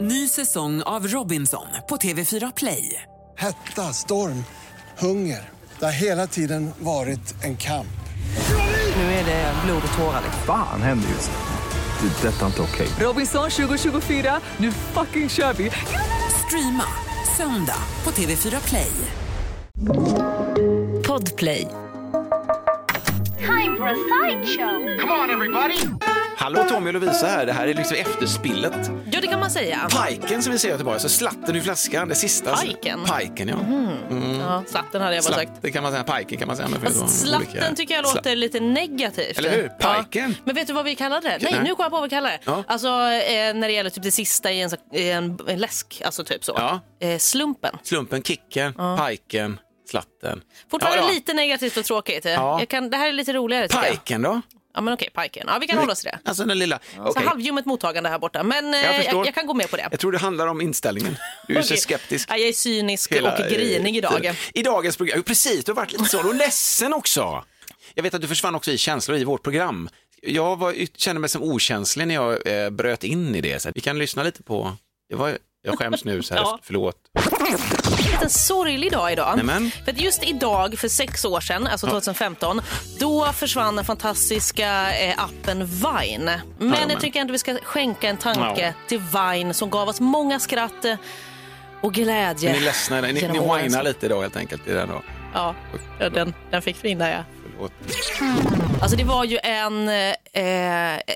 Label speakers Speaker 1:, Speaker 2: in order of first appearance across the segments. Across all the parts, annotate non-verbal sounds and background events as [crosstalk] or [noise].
Speaker 1: Ny säsong av Robinson på TV4 Play.
Speaker 2: Hetta, storm, hunger. Det har hela tiden varit en kamp.
Speaker 1: Nu är det blod och tårar. liksom.
Speaker 3: Fan händer just nu. Det. är Detta är inte okej.
Speaker 1: Robinson 2024, nu fucking kör vi! Streama söndag på TV4 Play.
Speaker 4: Podplay.
Speaker 5: time for a sideshow.
Speaker 6: Hallå Tommy och Lovisa här, det här är liksom efterspillet.
Speaker 4: Ja, det kan man säga.
Speaker 6: Piken som vi säger i Göteborg, alltså slatten ur flaskan, det sista.
Speaker 4: Piken?
Speaker 6: Piken, ja.
Speaker 4: Ja, slatten hade jag bara sagt.
Speaker 6: Slatt, det kan man säga, piken kan man säga. Men för
Speaker 4: Fast
Speaker 6: det var
Speaker 4: slatten
Speaker 6: olika-
Speaker 4: tycker jag
Speaker 6: Slatt.
Speaker 4: låter lite negativt.
Speaker 6: Eller hur? Piken.
Speaker 4: Ja. Men vet du vad vi kallar det? Nej,
Speaker 6: Nej.
Speaker 4: nu kom jag på vad vi kallar det.
Speaker 6: Ja.
Speaker 4: Alltså eh, när det gäller typ det sista i en, sak- i en, en läsk, alltså typ så.
Speaker 6: Ja.
Speaker 4: Eh, slumpen.
Speaker 6: Slumpen, kicken, piken, slatten.
Speaker 4: Fortfarande
Speaker 6: Ja, ja.
Speaker 4: lite negativt och tråkigt.
Speaker 6: Ja.
Speaker 4: Jag kan, det här är lite roligare tycker jag.
Speaker 6: Piken då?
Speaker 4: Ja, men okej, piken. Ja, vi kan hålla oss till det.
Speaker 6: Alltså den lilla.
Speaker 4: Så
Speaker 6: Okej.
Speaker 4: halvljummet mottagande här borta, men eh,
Speaker 6: Jag
Speaker 4: jag, jag,
Speaker 6: förstår.
Speaker 4: kan gå med på det.
Speaker 6: Jag tror det handlar om inställningen. Du är så
Speaker 4: Okej.
Speaker 6: skeptisk.
Speaker 4: Ja, jag är cynisk
Speaker 6: hela,
Speaker 4: och grinig
Speaker 6: eh,
Speaker 4: idag.
Speaker 6: tiden. I dagens program, jo precis, du har varit lite sån och ledsen också. Jag vet att du försvann också i känslor i vårt program. Jag var, kände mig som okänslig när jag eh, bröt in i det. Så vi kan lyssna lite på, det var, jag skäms nu så här,
Speaker 4: [laughs] Ja.
Speaker 6: förlåt.
Speaker 4: liten sorglig dag idag.
Speaker 6: Nämen.
Speaker 4: För att just idag, för sex år sedan, alltså 2015, då försvann den fantastiska eh, appen Vine. Men
Speaker 6: Jajamän.
Speaker 4: jag tycker ändå vi ska skänka en tanke
Speaker 6: Ja.
Speaker 4: till Vine som gav oss många skratt eh, och glädje.
Speaker 6: Ni är ledsna, i det. ni,
Speaker 4: genom
Speaker 6: ni
Speaker 4: åren.
Speaker 6: whinar lite idag helt enkelt. I den då.
Speaker 4: Ja, ja, den, den fick vi in där ja.
Speaker 6: Förlåt.
Speaker 4: Alltså det var ju en, eh,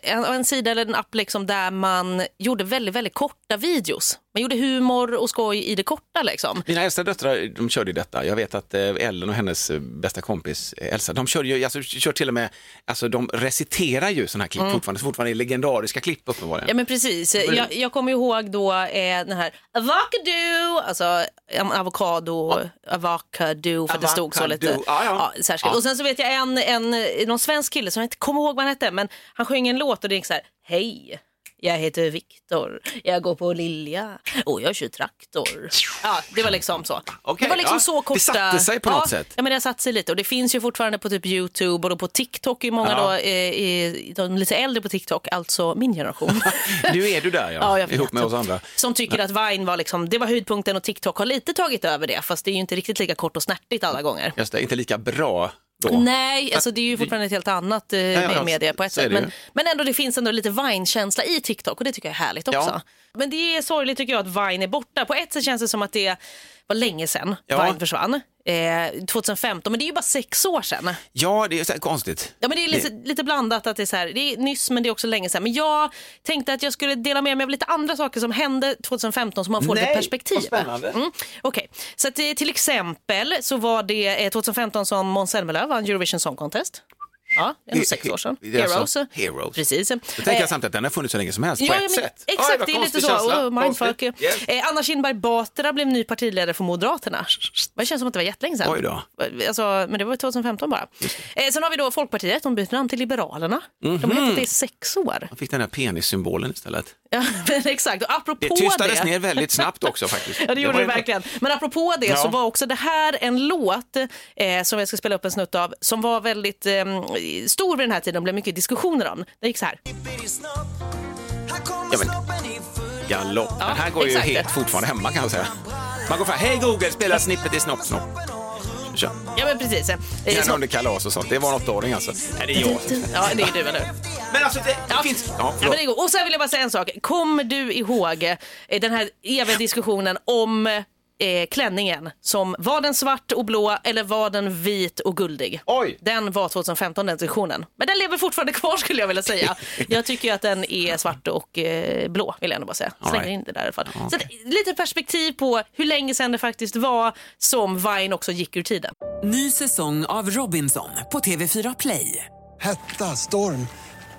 Speaker 4: en, en sida eller en app liksom där man gjorde väldigt, väldigt korta videos. Man gjorde humor och skoj i det korta liksom.
Speaker 6: Mina äldsta döttrar de körde ju detta. Jag vet att eh, Ellen och hennes eh, bästa kompis eh, Elsa, de kör, ju, alltså, kör till och med, alltså, de reciterar ju sådana här klipp fortfarande, så fortfarande är legendariska klipp uppenbarligen.
Speaker 4: Mm. Ja men precis. Jag, jag kommer ihåg då eh, den här avocado, alltså em, avokado, avocado för att det stod så lite.
Speaker 6: Avocado, ja, ja.
Speaker 4: särskilt.
Speaker 6: Ja.
Speaker 4: Och sen så vet jag en, en, någon svensk kille som jag inte kommer ihåg vad han hette, men han sjöng en låt och det gick så här, hej. Jag heter Viktor, jag går på Lilja och jag kör traktor. Ja, det var liksom så.
Speaker 6: Okej,
Speaker 4: det var liksom
Speaker 6: ja.
Speaker 4: så
Speaker 6: Det
Speaker 4: korta.
Speaker 6: satte sig på
Speaker 4: ja,
Speaker 6: något sätt.
Speaker 4: Ja, men det har satt sig lite och det finns ju fortfarande på typ Youtube och då på TikTok är många
Speaker 6: Ja.
Speaker 4: då, eh, i, de lite äldre på TikTok, alltså min generation.
Speaker 6: Nu är [laughs] du där
Speaker 4: [laughs]
Speaker 6: ja,
Speaker 4: jag vet.
Speaker 6: ihop med oss andra.
Speaker 4: Som tycker att Vine var liksom, det var höjdpunkten och TikTok har lite tagit över det fast det är ju inte riktigt lika kort och snärtigt alla gånger.
Speaker 6: Just det, inte lika bra då.
Speaker 4: Nej, alltså det är ju fortfarande ett helt annat eh,
Speaker 6: ja,
Speaker 4: media på ett
Speaker 6: så är
Speaker 4: sätt.
Speaker 6: det
Speaker 4: Men, men ändå, det finns ändå lite Vine-känsla i TikTok och det tycker jag är härligt också.
Speaker 6: Ja.
Speaker 4: Men det är sorgligt tycker jag att Vine är borta. På ett sätt känns det som att det var länge sedan
Speaker 6: Ja.
Speaker 4: Vine försvann. Eh, 2015, men det är ju bara sex år sedan.
Speaker 6: Ja, det är så här konstigt.
Speaker 4: Ja, men det är lite, lite blandat. att Det är, så här, det är nyss, men det är också länge sedan. Men jag tänkte att jag skulle dela med mig av lite andra saker som hände 2015 så man får lite
Speaker 6: Nej,
Speaker 4: perspektiv.
Speaker 6: vad spännande.
Speaker 4: Mm, okej. Så att, eh, till exempel så var det eh, 2015 som Måns Zelmerlöw vann Eurovision Song Contest. Ja, det är nog
Speaker 6: Det-
Speaker 4: sex år sedan.
Speaker 6: det är
Speaker 4: Heroes.
Speaker 6: alltså Heroes.
Speaker 4: Precis.
Speaker 6: Jag tänker
Speaker 4: Eh,
Speaker 6: samtidigt att den har funnits så länge som helst på ett
Speaker 4: men
Speaker 6: sätt.
Speaker 4: Exakt,
Speaker 6: Oj, vad
Speaker 4: det är lite
Speaker 6: konstig
Speaker 4: så.
Speaker 6: känsla.
Speaker 4: Oh, mindfuck.
Speaker 6: Konstigt. Yes.
Speaker 4: Eh, Anna Kinberg Batra blev ny partiledare för Moderaterna. Det känns som att det var jättelänge sedan.
Speaker 6: Oj då.
Speaker 4: Alltså, men det var ju 2015 bara. Eh, sen har vi då Folkpartiet, de byter namn till Liberalerna.
Speaker 6: Mhm.
Speaker 4: De har hetat det i sex år. [laughs]
Speaker 6: Man fick den här penissymbolen istället.
Speaker 4: Ja, men exakt, och apropå
Speaker 6: Det
Speaker 4: det...
Speaker 6: tystades ner väldigt snabbt också faktiskt.
Speaker 4: Ja, det gjorde
Speaker 6: var
Speaker 4: det
Speaker 6: ju-
Speaker 4: verkligen. Men apropå det så
Speaker 6: Ja.
Speaker 4: var också det här en låt eh, som jag ska spela upp en snutt av som var väldigt eh, stor vid den här tiden och blev mycket diskussioner om. Det gick så här.
Speaker 6: Ja, men, galopp. den här går
Speaker 4: exakt.
Speaker 6: ju helt fortfarande hemma kan jag säga. Man går fram, hej Google, spela snippet i Snopp Snopp. Kör.
Speaker 4: Ja, men precis. Eh,
Speaker 6: Gärna
Speaker 4: så-
Speaker 6: under kalas och sånt. Det var en åttaåring alltså. Nej, det är jag.
Speaker 4: Ja, det är du, eller hur?
Speaker 6: Men alltså det, det finns... Ja,
Speaker 4: Ja,
Speaker 6: förlåt.
Speaker 4: men det är god. och sen vill jag bara säga en sak. Kommer du ihåg eh, den här eviga diskussionen om eh, klänningen? Som, var den svart och blå eller var den vit och guldig?
Speaker 6: Oj.
Speaker 4: Den var 2015 den diskussionen. Men den lever fortfarande kvar skulle jag vilja säga. Jag tycker ju att den är svart och eh, blå vill jag ändå bara säga. Slänger
Speaker 6: right.
Speaker 4: in det där i alla fall. Så att, lite perspektiv på hur länge sedan det faktiskt var som Vine också gick ur tiden. [laughs]
Speaker 1: Ny säsong av Robinson på TV4 Play.
Speaker 2: Hetta, storm,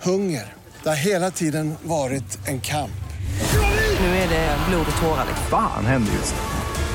Speaker 2: hunger. Det har hela tiden varit en kamp.
Speaker 1: liksom.
Speaker 3: Fan händer just nu.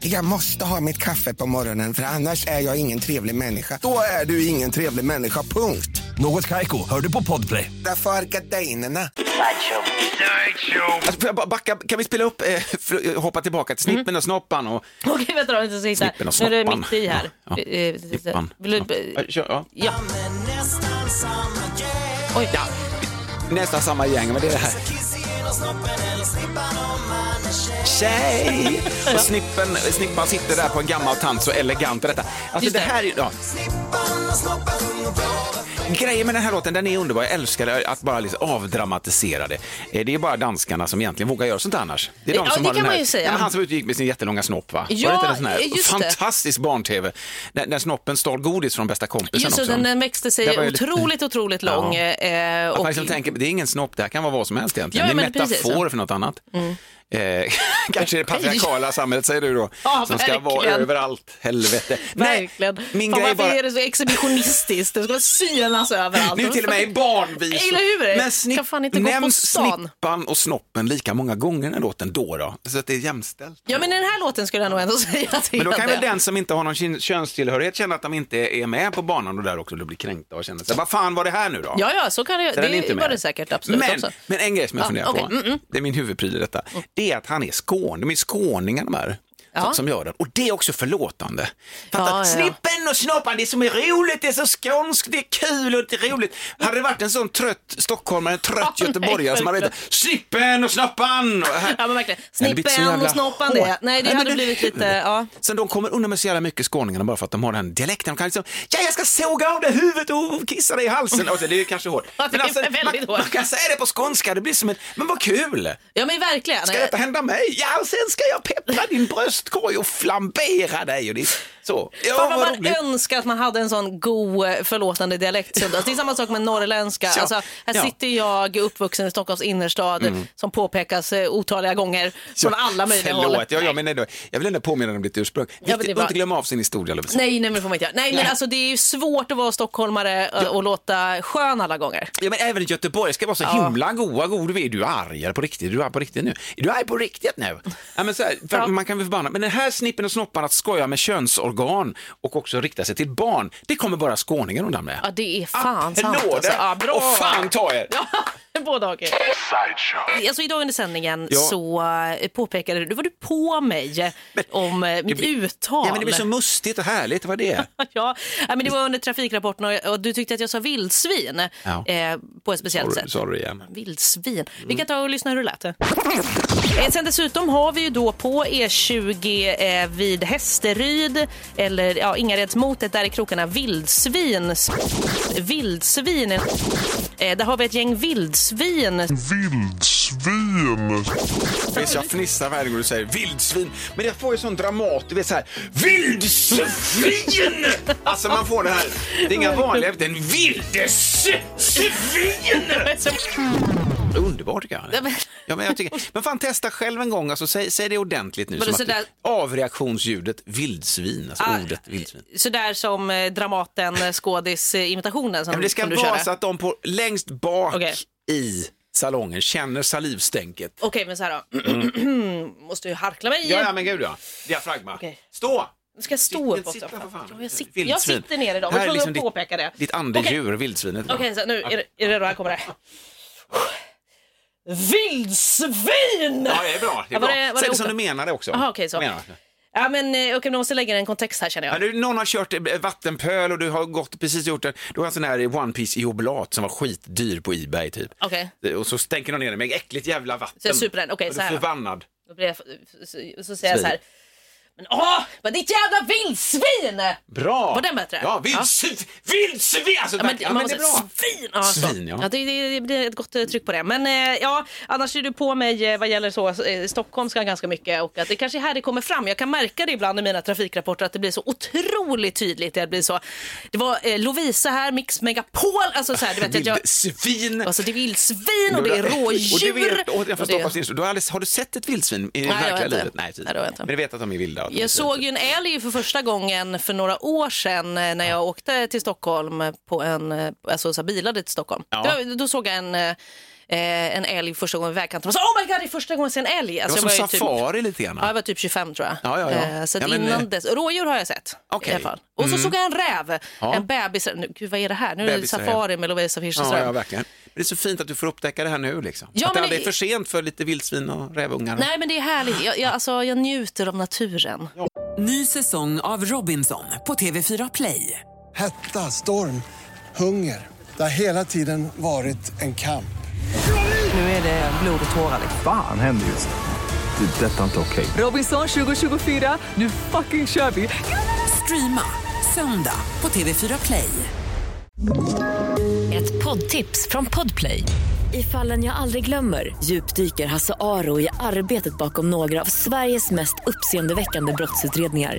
Speaker 5: Jag måste ha mitt kaffe på morgonen för annars är jag ingen trevlig människa. Då är du ingen trevlig människa, punkt.
Speaker 7: Något Kaiko, hör du på podplay.
Speaker 5: Därför är gardinerna.
Speaker 6: Alltså, får jag bara backa, kan vi spela upp, eh, för, hoppa tillbaka till
Speaker 4: Mm.
Speaker 6: Snippen och Snoppan och
Speaker 4: Okej, vänta då. Inte så
Speaker 6: Snippen och
Speaker 4: nu är det
Speaker 6: snoppan.
Speaker 4: mitt i här.
Speaker 6: Ja, ja.
Speaker 4: Eh, eh,
Speaker 6: Snippan.
Speaker 4: Vill du...
Speaker 6: Ja, kör, ja.
Speaker 4: Ja. Oj.
Speaker 6: nästan samma gäng, men det är det här. Tjej! Och snippen, snippan sitter där på en gammal tant, så elegant och detta. Alltså
Speaker 4: Just
Speaker 6: det
Speaker 4: det.
Speaker 6: här är ja. Grejen med den här låten, den är underbar. Jag älskar det, att bara liksom avdramatisera det. Eh, Det är bara danskarna som egentligen vågar göra sånt annars. Det är de
Speaker 4: Ja,
Speaker 6: som
Speaker 4: det
Speaker 6: har
Speaker 4: kan
Speaker 6: den här,
Speaker 4: man ju säga.
Speaker 6: Ja, men han som utgick med sin jättelånga snopp, va?
Speaker 4: Ja,
Speaker 6: Var det inte en sån här
Speaker 4: just det.
Speaker 6: fantastisk barn-tv? När, när snoppen stal godis från bästa kompisen
Speaker 4: Just det,
Speaker 6: också.
Speaker 4: den den växte
Speaker 6: Det
Speaker 4: sig
Speaker 6: var ju lite-
Speaker 4: otroligt, otroligt
Speaker 6: Ja.
Speaker 4: lång. eh,
Speaker 6: Att
Speaker 4: och-
Speaker 6: man liksom tänker, det är ingen snopp, det här kan vara vad som helst egentligen.
Speaker 4: Ja, Mm.
Speaker 6: det är
Speaker 4: men precis,
Speaker 6: metafor för något annat. Eh, [laughs] kanske
Speaker 4: [laughs]
Speaker 6: det patriarkala samhället säger du då,
Speaker 4: Ja,
Speaker 6: som ska vara
Speaker 4: verkligen.
Speaker 6: överallt, helvete. Nej,
Speaker 4: Verkligen.
Speaker 6: Min
Speaker 4: Fan,
Speaker 6: grej
Speaker 4: varför
Speaker 6: är bara,
Speaker 4: är det så exhibitionistiskt? Det ska synas överallt.
Speaker 6: nu till och med i barnvisor.
Speaker 4: Eller hur?
Speaker 6: Men
Speaker 4: Kan fan inte
Speaker 6: snipp,
Speaker 4: gå på
Speaker 6: nämns
Speaker 4: stan.
Speaker 6: snippan och snoppen lika många gånger i den här låten då då? Så att det är jämställt.
Speaker 4: Ja, men i den här låten skulle jag nog ändå [laughs] säga att det
Speaker 6: Men då
Speaker 4: är
Speaker 6: kan
Speaker 4: det.
Speaker 6: väl den som inte har någon kyn- könstillhörighet känna att de inte är med på banan och där också blir kränkta och känner sig, vad fan var det här nu då?
Speaker 4: Ja, ja, så kan det ju.
Speaker 6: Så den är inte
Speaker 4: Det
Speaker 6: med.
Speaker 4: var det säkert absolut
Speaker 6: men,
Speaker 4: också.
Speaker 6: Men en grej som jag
Speaker 4: Ja,
Speaker 6: funderar
Speaker 4: okej. Mm,
Speaker 6: på, det är min huvudpryl i detta, det är att han är skån, de är skåningar de här.
Speaker 4: Ja.
Speaker 6: Som, som gör den. Och det är också förlåtande. Fatta,
Speaker 4: Ja, ja, ja.
Speaker 6: Snippen och snoppan, det är som är roligt, det är så skånskt, det är kul och det är roligt. Hade det varit en sån trött stockholmare, en trött
Speaker 4: [laughs] Ja, nej,
Speaker 6: göteborgare som hade
Speaker 4: verkligen.
Speaker 6: vetat Snippen och snoppan! Och här-
Speaker 4: Ja, men verkligen.
Speaker 6: Det hade blivit så
Speaker 4: Snippen
Speaker 6: jävla
Speaker 4: och snoppan
Speaker 6: hårt.
Speaker 4: det. Nej, det
Speaker 6: men
Speaker 4: hade blivit lite, ja.
Speaker 6: Sen de kommer undan med så jävla mycket skåningarna bara för att de har den dialekten. De kan liksom, ja jag ska såga av dig huvudet och kissa dig i halsen. Och så, det är ju kanske hårt.
Speaker 4: [laughs]
Speaker 6: alltså,
Speaker 4: Ja, det är väldigt
Speaker 6: man,
Speaker 4: hårt.
Speaker 6: man kan säga det på skånska, det blir som en, men vad kul!
Speaker 4: Ja, men verkligen.
Speaker 6: Ska detta hända mig? Ja, och sen ska jag peppra din bröstkorg och flambera dig. Och det, så. Ja,
Speaker 4: Fan vad
Speaker 6: vad
Speaker 4: man
Speaker 6: roligt.
Speaker 4: önskar att man hade en sån god eh, förlåtande dialekt. Så Det är samma sak med norrländska.
Speaker 6: Ja.
Speaker 4: Alltså, här
Speaker 6: Ja. Mm.
Speaker 4: sitter jag uppvuxen i Stockholms innerstad som påpekas eh, otaliga gånger från alla möjliga
Speaker 6: Förlåt,
Speaker 4: håll.
Speaker 6: Ja, ja, men ändå, jag vill ändå påminna om ditt ursprung. Viktigt
Speaker 4: men
Speaker 6: att
Speaker 4: det var-
Speaker 6: inte glömma av sin historia. Lovisa.
Speaker 4: Nej, nej men det får man inte göra. Nej, men alltså det är ju svårt att vara stockholmare eh, och låta skön alla gånger.
Speaker 6: Ja, men även i Göteborg ska vara så himla goa, god du är du argare på riktigt, du är på riktigt nu. Är du arg på riktigt nu? Ja, men så här, för
Speaker 4: Ja.
Speaker 6: Man kan bli förbannad, men den här snippen och snoppan att skoja med könsorgan och också rikta sig till barn, det kommer bara skåningar undan med.
Speaker 4: Ja, det är
Speaker 6: Ah,
Speaker 4: fan sant
Speaker 6: Applåder.
Speaker 4: alltså. Ja, bra.
Speaker 6: Och fan ta er!
Speaker 4: Ja, [laughs] båda dagar. Alltså idag under sändningen
Speaker 6: Ja.
Speaker 4: så eh, påpekade du, då var du på mig om eh, mitt
Speaker 6: blir-
Speaker 4: uttal.
Speaker 6: Ja, men det blir så mustigt och härligt, vad det är.
Speaker 4: [laughs] Ja, nej, men det var under trafikrapporten och, och du tyckte att jag sa vildsvin
Speaker 6: Ja.
Speaker 4: eh, på ett speciellt
Speaker 6: Sorry,
Speaker 4: sätt.
Speaker 6: sorry igen.
Speaker 4: Vildsvin. Vi kan ta och lyssna hur det lät. Eh, Sen dessutom har vi ju då på E20 eh, vid Hästeryd eller ja, Ingaredsmotet, där i krokarna vildsvin. Vildsvin. Eh, Där har vi ett gäng vildsvin.
Speaker 6: Visst, jag fnissar varje gång du säger vildsvin, men jag får ju sån dramat, du vet så här, vildsvin! Alltså man får det här, det är inga vanliga, det är en vildesvin! Underbart tycker jag.
Speaker 4: Ja, men-
Speaker 6: Ja, men, jag tycker,
Speaker 4: [laughs]
Speaker 6: men fan testa själv en gång, alltså, säg, säg det ordentligt nu.
Speaker 4: Men
Speaker 6: Som
Speaker 4: så
Speaker 6: att det,
Speaker 4: där-
Speaker 6: avreaktionsljudet vildsvin, alltså
Speaker 4: Ah,
Speaker 6: ordet vildsvin.
Speaker 4: Sådär som eh, Dramaten eh, skådis-imitationen som,
Speaker 6: Ja, men det ska
Speaker 4: som du
Speaker 6: vara
Speaker 4: körde.
Speaker 6: så att de på, längst bak
Speaker 4: Okej.
Speaker 6: i salongen känner salivstänket.
Speaker 4: Okej, men så här då. [clears throat] Måste ju harkla mig.
Speaker 6: Ja, ja men gud ja. Diafragma.
Speaker 4: Okej.
Speaker 6: Stå!
Speaker 4: Nu ska jag stå upp
Speaker 6: Sitt-
Speaker 4: också.
Speaker 6: sitta för fan.
Speaker 4: Ja, jag, sitter, jag
Speaker 6: Vildsvin.
Speaker 4: sitter ner idag.
Speaker 6: Det
Speaker 4: Var
Speaker 6: här är
Speaker 4: tvungen
Speaker 6: liksom
Speaker 4: att påpeka det.
Speaker 6: Ditt andedjur, vildsvinet.
Speaker 4: Okej, så nu är det, är det då här kommer det. Vildsvin!
Speaker 6: Ja, det är bra. Det är bra.
Speaker 4: Ja, var det- var
Speaker 6: Säg
Speaker 4: det
Speaker 6: det som
Speaker 4: oklart?
Speaker 6: du menar det också.
Speaker 4: Aha, okej, så.
Speaker 6: Menar.
Speaker 4: Ja, men eh, okej, men jag måste lägga en kontext här känner
Speaker 6: Ja,
Speaker 4: jag.
Speaker 6: du, någon har kört eh, vattenpöl och du har gått, precis gjort det. Du har en sån här One Piece i oblat som var skitdyr på Ebay typ.
Speaker 4: Okej,
Speaker 6: Och så stänker de ner det med äckligt jävla vatten.
Speaker 4: så jag super den. Okej,
Speaker 6: Och du
Speaker 4: så
Speaker 6: är
Speaker 4: här. då.
Speaker 6: förbannad.
Speaker 4: Då blir jag, så, så säger jag så här. Men åh, vad ditt jävla vildsvin!
Speaker 6: Bra!
Speaker 4: Var den bättre?
Speaker 6: Ja, vildsvin! Vildsvin! Alltså,
Speaker 4: Ja, men,
Speaker 6: verkligen. ja, men det är bra.
Speaker 4: Svin! Ja, så.
Speaker 6: Svin, ja.
Speaker 4: ja det, det, det blir ett gott eh, tryck på det. Men eh, ja, annars är du på mig eh, vad gäller så, eh, stockholmska ganska mycket och att det kanske är här det kommer fram. Jag kan märka det ibland i mina trafikrapporter att det blir så otroligt tydligt. Det blir så, det var eh, Lovisa här, Mix Megapol, alltså så här, du vet att jag...
Speaker 6: Vildsvin!
Speaker 4: Alltså det är vildsvin och det är
Speaker 6: [laughs]
Speaker 4: rådjur.
Speaker 6: Och du vet, och jag från
Speaker 4: och det-
Speaker 6: Stockholms innerstad, du har, aldrig, har du sett ett vildsvin i
Speaker 4: det har jag
Speaker 6: verkliga
Speaker 4: inte.
Speaker 6: livet? Nej, precis.
Speaker 4: Nej, det har jag inte.
Speaker 6: Men du vet att de är vilda? och att de är
Speaker 4: Jag såg ju en älg för första gången för några år sedan eh, när jag åkte till Stockholm på en, eh, alltså så här, bilade till Stockholm.
Speaker 6: Ja.
Speaker 4: Det var- Då såg jag en eh, eh, en älg första gången vid vägkanten och sa oh my god, det är första gången jag ser en älg.
Speaker 6: Det var
Speaker 4: Alltså,
Speaker 6: som
Speaker 4: jag ju typ,
Speaker 6: safari lite grann.
Speaker 4: ja, jag var typ 25 tror jag.
Speaker 6: Ja, ja, ja.
Speaker 4: Eh, så att
Speaker 6: Ja, men, eh,
Speaker 4: innan dess, rådjur har jag sett
Speaker 6: Okej. Mm.
Speaker 4: i alla fall. Och så såg jag en räv,
Speaker 6: Ja.
Speaker 4: en bebis, nu, gud vad är det här? Nu är det
Speaker 6: Bebisräv.
Speaker 4: safari med Lovisa
Speaker 6: Ja,
Speaker 4: Fischerström.
Speaker 6: ja, verkligen. Men det är så fint att du får upptäcka det här nu. Liksom.
Speaker 4: Ja,
Speaker 6: att det
Speaker 4: men
Speaker 6: aldrig
Speaker 4: det-
Speaker 6: är för sent för lite vildsvin och rävungar.
Speaker 4: Nej men det är härligt, jag, jag, alltså, jag njuter av naturen.
Speaker 1: Ny säsong av Robinson på TV4 Play.
Speaker 2: Hetta, storm, hunger. Det har hela tiden varit en kamp.
Speaker 1: Nu är det blod och tårar. liksom.
Speaker 3: Fan händer just det. Det är detta inte okej.
Speaker 1: Robinson 2024, nu fucking kör vi! Streama söndag på TV4 Play.
Speaker 8: Ett poddtips från Podplay. I fallen jag aldrig glömmer djupdyker Hasse Aro i arbetet bakom några av Sveriges mest uppseendeväckande brottsutredningar.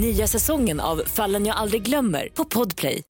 Speaker 8: Nya säsongen av Fallen jag aldrig glömmer på Podplay.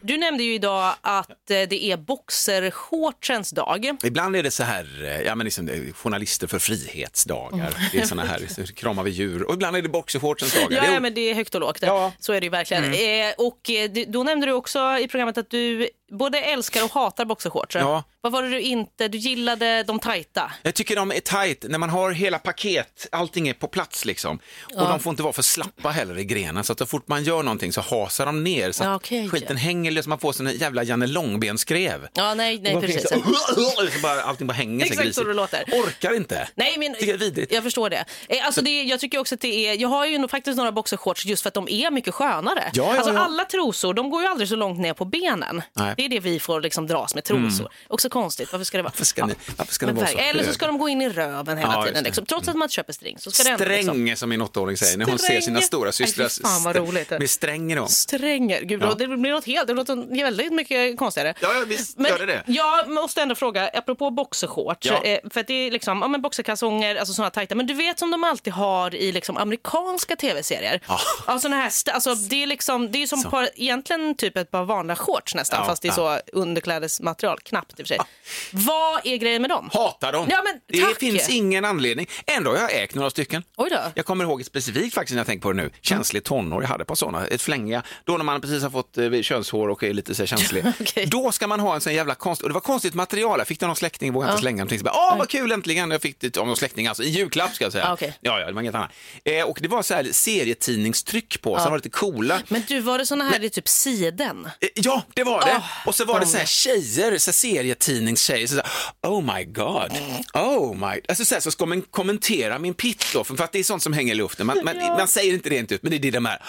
Speaker 4: Du nämnde ju idag att eh, det är boxershortsens dag.
Speaker 6: Ibland är det så här, eh, ja, men liksom, det är journalister för frihetsdagar. Det är såna här, så kramar vi djur. Och ibland är det boxershortsens dagar.
Speaker 4: Mm. [laughs] Ja,
Speaker 6: Det är-
Speaker 4: ja, men det är högt och lågt.
Speaker 6: Ja. Mm.
Speaker 4: Så är det ju verkligen. Eh, och eh, du- då nämnde du också i programmet att du både älskar och hatar boxershorts.
Speaker 6: Ja.
Speaker 4: Vad var det du inte, du gillade de tajta?
Speaker 6: Jag tycker de är tight, när man har hela paket, allting är på plats liksom. Och de får inte vara för slappa heller i grenen, så att så fort man gör någonting så hasar de ner så att
Speaker 4: Ja, okej.
Speaker 6: skiten hänger, liksom, man får sån här jävla Janne Långben-skrev.
Speaker 4: Ja, nej, nej
Speaker 6: Och man
Speaker 4: precis.
Speaker 6: tänker Så, [laughs] så bara, allting bara hänger sig
Speaker 4: Exakt så det låter.
Speaker 6: Orkar inte.
Speaker 4: Nej, men,
Speaker 6: Tycker jag är vidrigt.
Speaker 4: jag förstår det. Eh, Alltså det. är- Jag tycker också att det är, jag har ju nog faktiskt några boxershorts just för att de är mycket skönare.
Speaker 6: Ja, ja,
Speaker 4: alltså
Speaker 6: ja.
Speaker 4: alla trosor, de går ju aldrig så långt ner på benen.
Speaker 6: Nej. Mm.
Speaker 4: Det är det vi får liksom dras med, trosor. Också konstigt, varför ska det vara?
Speaker 6: Varför ska ni- varför ska ni
Speaker 4: men
Speaker 6: vara så
Speaker 4: verkligen. Eller så ska
Speaker 6: höga?
Speaker 4: de gå in i röven hela
Speaker 6: Ja, just
Speaker 4: tiden.
Speaker 6: det. Mm.
Speaker 4: Liksom. Trots att man köper string så ska det ändå liksom...
Speaker 6: Sträng som min åttaåring säger när hon ser sina
Speaker 4: Sträng.
Speaker 6: stora systrar
Speaker 4: Ay, fy fan, vad
Speaker 6: st-
Speaker 4: roligt.
Speaker 6: med stränger om.
Speaker 4: Stränger. Gud,
Speaker 6: Ja.
Speaker 4: det blir något helt, det låter väldigt mycket konstigare.
Speaker 6: Ja, ja, visst
Speaker 4: Men
Speaker 6: gör det det.
Speaker 4: Jag måste ändå fråga, apropå boxershorts,
Speaker 6: Ja.
Speaker 4: eh, för att det är liksom, ja men boxerkalsonger, alltså sådana tajta, men du vet som de alltid har i liksom amerikanska tv-serier.
Speaker 6: Ja.
Speaker 4: Alltså, här, st- alltså det är liksom, det är som par, egentligen typ ett par vanliga shorts nästan,
Speaker 6: Ja,
Speaker 4: fast det är så underklädesmaterial, knappt i och för sig. Vad är grejen med dem?
Speaker 6: Hatar dem.
Speaker 4: Ja, men
Speaker 6: det
Speaker 4: tack.
Speaker 6: finns ingen anledning. Ändå har jag ägt några stycken.
Speaker 4: Oj då. Mm.
Speaker 6: Jag kommer ihåg ett specifikt faktiskt när jag tänker på det nu. Känslig tonår, jag hade ett par sådana. Ett flängiga, då när man precis har fått eh, könshår och är lite så här känslig.
Speaker 4: [laughs] Okej.
Speaker 6: Då ska man ha en sån jävla konst, och det var konstigt material. Jag fick det av någon släkting, vågade inte slänga någonting. Så bara, Åh vad kul äntligen, jag fick det av någon släkting, alltså i julklapp ska jag säga.
Speaker 4: Ah, okej.
Speaker 6: Ja, ja, det var inget annat. Eh, och det var så här serietidningstryck på, så de var lite coola.
Speaker 4: Men du, var det sådana här, det är typ siden?
Speaker 6: Eh, Ja, det var det.
Speaker 4: Åh,
Speaker 6: och så var det så här tjejer, så här serietidningstjejer, så här, oh my god, oh my, alltså så, här, så ska man kommentera min pitt då, för för att det är sånt som hänger i luften. Man, man, man säger inte det rent ut, men det är det de här,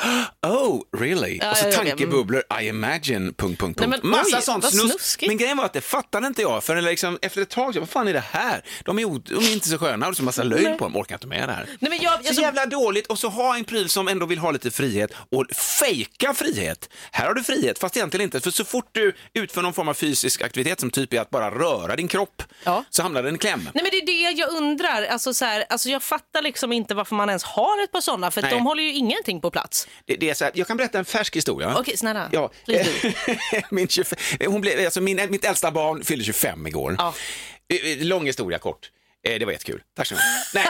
Speaker 6: oh really, och så
Speaker 4: ja, ja, ja.
Speaker 6: tankebubblor, I imagine, punkt, punkt,
Speaker 4: Nej,
Speaker 6: punkt.
Speaker 4: men
Speaker 6: Massa
Speaker 4: oj,
Speaker 6: sånt
Speaker 4: vad
Speaker 6: snus.
Speaker 4: snuskigt.
Speaker 6: Men grejen var att det fattade inte jag förrän liksom, efter ett tag, så, vad fan är det här? De är, o- de är inte så sköna och så massa löjl på dem, orkar inte med det här.
Speaker 4: Nej, men jag, jag,
Speaker 6: Så jävla dåligt och så ha en pryl som ändå vill ha lite frihet och fejka frihet. Här har du frihet, fast egentligen inte. För så fort du utför någon form av fysisk aktivitet som typ är att bara röra din kropp
Speaker 4: Ja.
Speaker 6: så hamnar den i kläm.
Speaker 4: Nej men det är det jag undrar. Alltså, så här, alltså jag fattar liksom inte varför man ens har ett par sådana för att
Speaker 6: Nej.
Speaker 4: de håller ju ingenting på plats.
Speaker 6: Det, det är så här, jag kan berätta en färsk historia.
Speaker 4: Okej, snälla.
Speaker 6: Ja,
Speaker 4: Please do.
Speaker 6: [laughs] min 25, hon blev, alltså min, mitt äldsta barn fyllde 25 igår.
Speaker 4: Ja.
Speaker 6: Eh, eh, Lång historia kort. Eh, Det var jättekul. Tack så mycket.
Speaker 4: [laughs]
Speaker 6: Nej.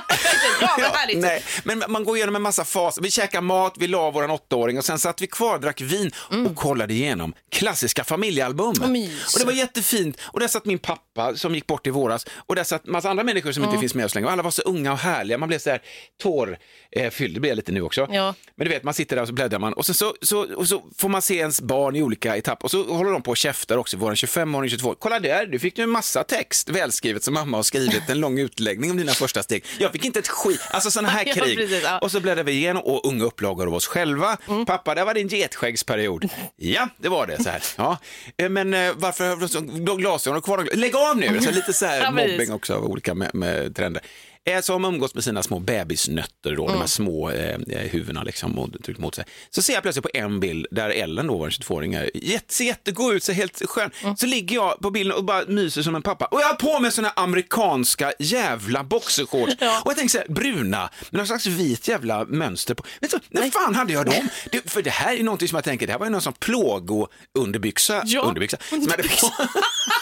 Speaker 4: Ja, vad härligt.
Speaker 6: nej. Men man går igenom en massa faser. Vi käkar mat, vi la våran åttaåring och sen satt vi kvar, drack vin och kollade igenom klassiska familjealbum.
Speaker 4: Mm. Vad mysigt.
Speaker 6: Och det var jättefint. Och där satt min pappa som gick bort i våras och där satt massa andra människor som inte finns med oss längre. Och alla var så unga och härliga. Man blev så här tårfylld, det blir jag lite nu också.
Speaker 4: Ja.
Speaker 6: Men du vet, man sitter där och så bläddrar man och sen så, så, och så får man se ens barn i olika etapper och så håller de på och käftar också, våran 25 åring 22 Kolla där, du fick du en massa text välskrivet som mamma har skrivit, en lång utläggning om dina första steg. Jag fick inte ett skit, alltså sådana här
Speaker 4: [laughs] Ja,
Speaker 6: krig.
Speaker 4: precis, ja.
Speaker 6: Och så bläddrar vi igenom och unga upplagor av oss själva.
Speaker 4: Mm.
Speaker 6: Pappa, där var din getskäggsperiod. Ja, det var det. Så här. Ja. Eh, Men eh, varför har du så- de glasögonen kvar? Lägg av nu! Så lite så här
Speaker 4: [laughs] Ja, precis.
Speaker 6: mobbing också av olika med, med trender. Eh, Så har man umgås med sina små bebisnötter, då, de här små eh, eh, huvudena liksom, och tryckt mot sig. Så ser jag plötsligt på en bild där Ellen, då, var 22-åring, är jätte, ser jättegod ut, ser helt skön. Så ligger jag på bilden och bara myser som en pappa. Och jag har på mig såna här amerikanska jävla boxershorts. Och jag tänker så här, bruna, med någon slags vit jävla mönster på. Men så, när fan hade jag dem? Det, för det här är någonting som jag tänker, det här var ju någon sån plågo-underbyxa.
Speaker 4: Ja,
Speaker 6: Underbyxa. Som jag hade på.
Speaker 4: sekunder.
Speaker 6: [laughs]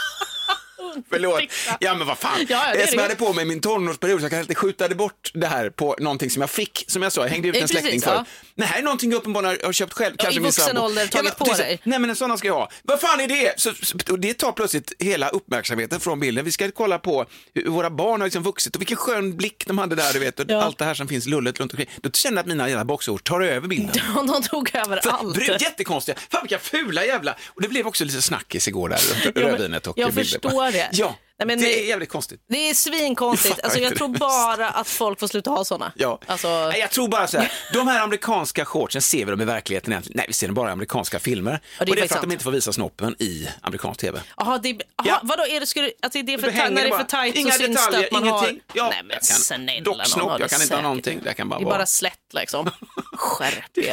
Speaker 6: Förlåt.
Speaker 4: Fixa.
Speaker 6: Ja men vad fan.
Speaker 4: [laughs] Ja, ja, det är
Speaker 6: jag
Speaker 4: det.
Speaker 6: smällde på mig i min tonårsperiod så jag kanske inte skjutade bort det här på någonting som jag fick, som jag sa, jag hängde ut
Speaker 4: Eh,
Speaker 6: en
Speaker 4: precis,
Speaker 6: släkting för.
Speaker 4: ja.
Speaker 6: Det här är någonting jag uppenbarligen har köpt själv.
Speaker 4: Ja,
Speaker 6: kanske
Speaker 4: i
Speaker 6: min
Speaker 4: vuxen
Speaker 6: sambo.
Speaker 4: ålder
Speaker 6: Ja,
Speaker 4: tagit
Speaker 6: men
Speaker 4: på
Speaker 6: precis.
Speaker 4: dig.
Speaker 6: Nej men en sån ska jag ha. Vad fan är det? Så, så- och det tar plötsligt hela uppmärksamheten från bilden. Vi ska kolla på hur våra barn har liksom vuxit och vilken skön blick de hade där, du vet, och allt det här som finns lullet runt omkring. Då känner jag att mina jävla boxord tar över
Speaker 4: [laughs]
Speaker 6: bilden.
Speaker 4: De tog över allt.
Speaker 6: Bru- Jättekonstiga, fan vilka fula jävla... Och det blev också lite snackis igår där, runt
Speaker 4: men
Speaker 6: rödvinet och
Speaker 4: jag
Speaker 6: bilden.
Speaker 4: förstår det.
Speaker 6: Ja,
Speaker 4: Nej, men-
Speaker 6: det är jävligt konstigt.
Speaker 4: Det är svinkonstigt.
Speaker 6: Jag
Speaker 4: alltså,
Speaker 6: fattar
Speaker 4: jag
Speaker 6: inte
Speaker 4: tror
Speaker 6: det.
Speaker 4: bara att folk får sluta ha såna.
Speaker 6: Ja.
Speaker 4: Alltså,
Speaker 6: Nej, jag tror bara så här, de här amerikanska shortsen ser vi dem i verkligheten egentligen. Nej, vi ser dem bara i amerikanska filmer.
Speaker 4: Ja,
Speaker 6: och det är för
Speaker 4: faktiskt
Speaker 6: att de
Speaker 4: sant.
Speaker 6: inte får visa snoppen i amerikansk tv.
Speaker 4: Aha, det, aha,
Speaker 6: Ja.
Speaker 4: Vadå, är det, skulle, att det är för
Speaker 6: Då hänger
Speaker 4: tajt, när det är
Speaker 6: bara-
Speaker 4: för tajt
Speaker 6: Inga
Speaker 4: så syns det
Speaker 6: detaljer,
Speaker 4: att man
Speaker 6: ingenting.
Speaker 4: har...
Speaker 6: Ja,
Speaker 4: Nej men
Speaker 6: jag kan-
Speaker 4: snälla
Speaker 6: dock
Speaker 4: någon
Speaker 6: snopp,
Speaker 4: har det
Speaker 6: jag kan inte ha
Speaker 4: säkert.
Speaker 6: någonting. Jag kan bara
Speaker 4: Det är
Speaker 6: vara- [laughs]
Speaker 4: bara slätt liksom. Skärp er.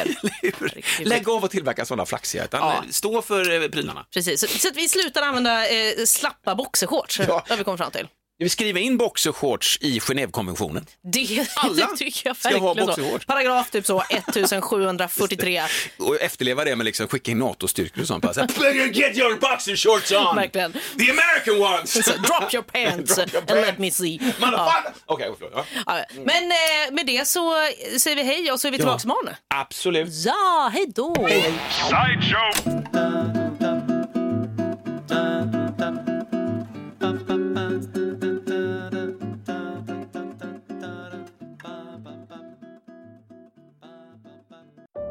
Speaker 4: Herregud.
Speaker 6: Lägg av och tillverka sådana flaxiga, utan
Speaker 4: Ja.
Speaker 6: stå för eh, prylarna.
Speaker 4: Precis, så, så att vi slutar använda eh, slappa boxershorts
Speaker 6: Ja.
Speaker 4: har vi kommit fram till.
Speaker 6: Vi skriver in boxershorts i Genèvekonventionen.
Speaker 4: Det, [laughs]
Speaker 6: Alla
Speaker 4: det tycker jag
Speaker 6: ska ha
Speaker 4: verkligen så.
Speaker 6: boxershorts.
Speaker 4: Paragraf typ så
Speaker 6: [laughs]
Speaker 4: 1743.
Speaker 6: Och efterleva det med liksom skicka in NATO-styrkor och sånt. Bara så här, [laughs] get your boxer shorts on!
Speaker 4: Verkligen.
Speaker 6: The American ones!
Speaker 4: [laughs] Så, [laughs] drop your
Speaker 6: [laughs]
Speaker 4: pants
Speaker 6: Drop your
Speaker 4: and
Speaker 6: pants.
Speaker 4: let me see. Uh, Ja.
Speaker 6: Motherfucker! Okej, förlåt. Ja.
Speaker 4: Ja. Men eh, med det så säger vi hej och så är vi tillbaka imorgon.
Speaker 6: Absolut.
Speaker 4: Ja, hej då!